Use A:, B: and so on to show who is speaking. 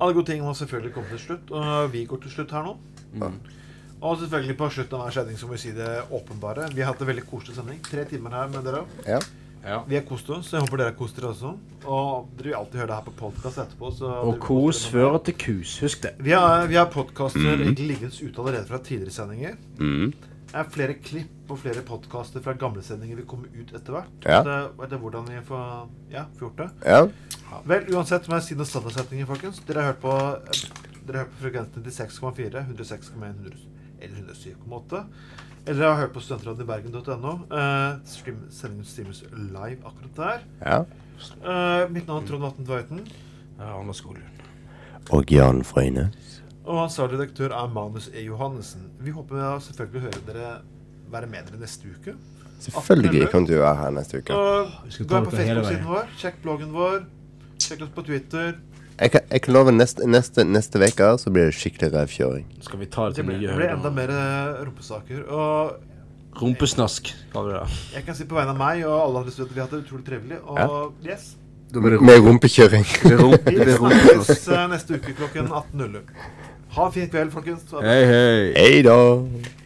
A: Alle gode ting må selvfølgelig komme til slutt, og vi går til slutt her nå. Og selvfølgelig på slutten av hver sending så må vi si det åpenbare. Vi har hatt en veldig koselig sending. Tre timer her med dere.
B: Ja.
C: Ja.
A: Vi har kost oss. Jeg håper dere har kost dere også. Og dere vil alltid høre det her på podkast etterpå. Så
C: Og
A: dere må
C: kos
A: følge med.
C: fører til kus. Husk det.
A: Vi har, vi har podkaster egentlig liggende ute allerede fra tidligere sendinger.
D: Mm.
A: Det er flere klipp og flere podkaster fra gamle sendinger vil komme ut etter hvert.
B: Ja.
A: Så Det, er- det er hvordan vi får, ja, får gjort det.
B: ja.
A: Vel, uansett må jeg si noen standardsetninger, folkens. Dere har hørt på, dere har hørt på frekvensen til 6,4, 106,1 100 eller 107,8. Eller dere har hørt på studentradiobergen.no. Uh, stream, sendingen streames live akkurat der.
B: ja.
A: Eh, mitt navn er Trond Vatn Tveiten.
C: Ja, Anders Skoglund.
B: Og Jan Frøyne.
A: Og ansvarlig redaktør er Manus E. Johannessen. Vi håper å selvfølgelig høre dere være med dere neste uke.
B: Selvfølgelig kan du være her neste uke.
A: Og
C: Vi skal
A: gå
C: ta
A: inn på
C: dette hele
A: Facebook-siden
C: veien.
A: vår, sjekk bloggen vår, sjekk oss på Twitter.
B: Jeg kan, jeg kan love neste, neste, neste veke så blir det skikkelig revkjøring.
C: Skal vi ta
A: Det
C: det til
A: blir,
C: nye
A: det blir enda
C: høyder?
A: mer eh, rumpesaker. Og
C: Rumpesnask, kaller vi det.
A: jeg kan si på vegne av meg og alle andre studenter vi har hatt det utrolig trivelig. Og yes,
B: Med rumpekjøring.
A: vi snakkes eh, neste uke klokken 18.00. Ha en fin kveld, folkens. Ha det bra.
C: Hei, hei.
B: Hei da.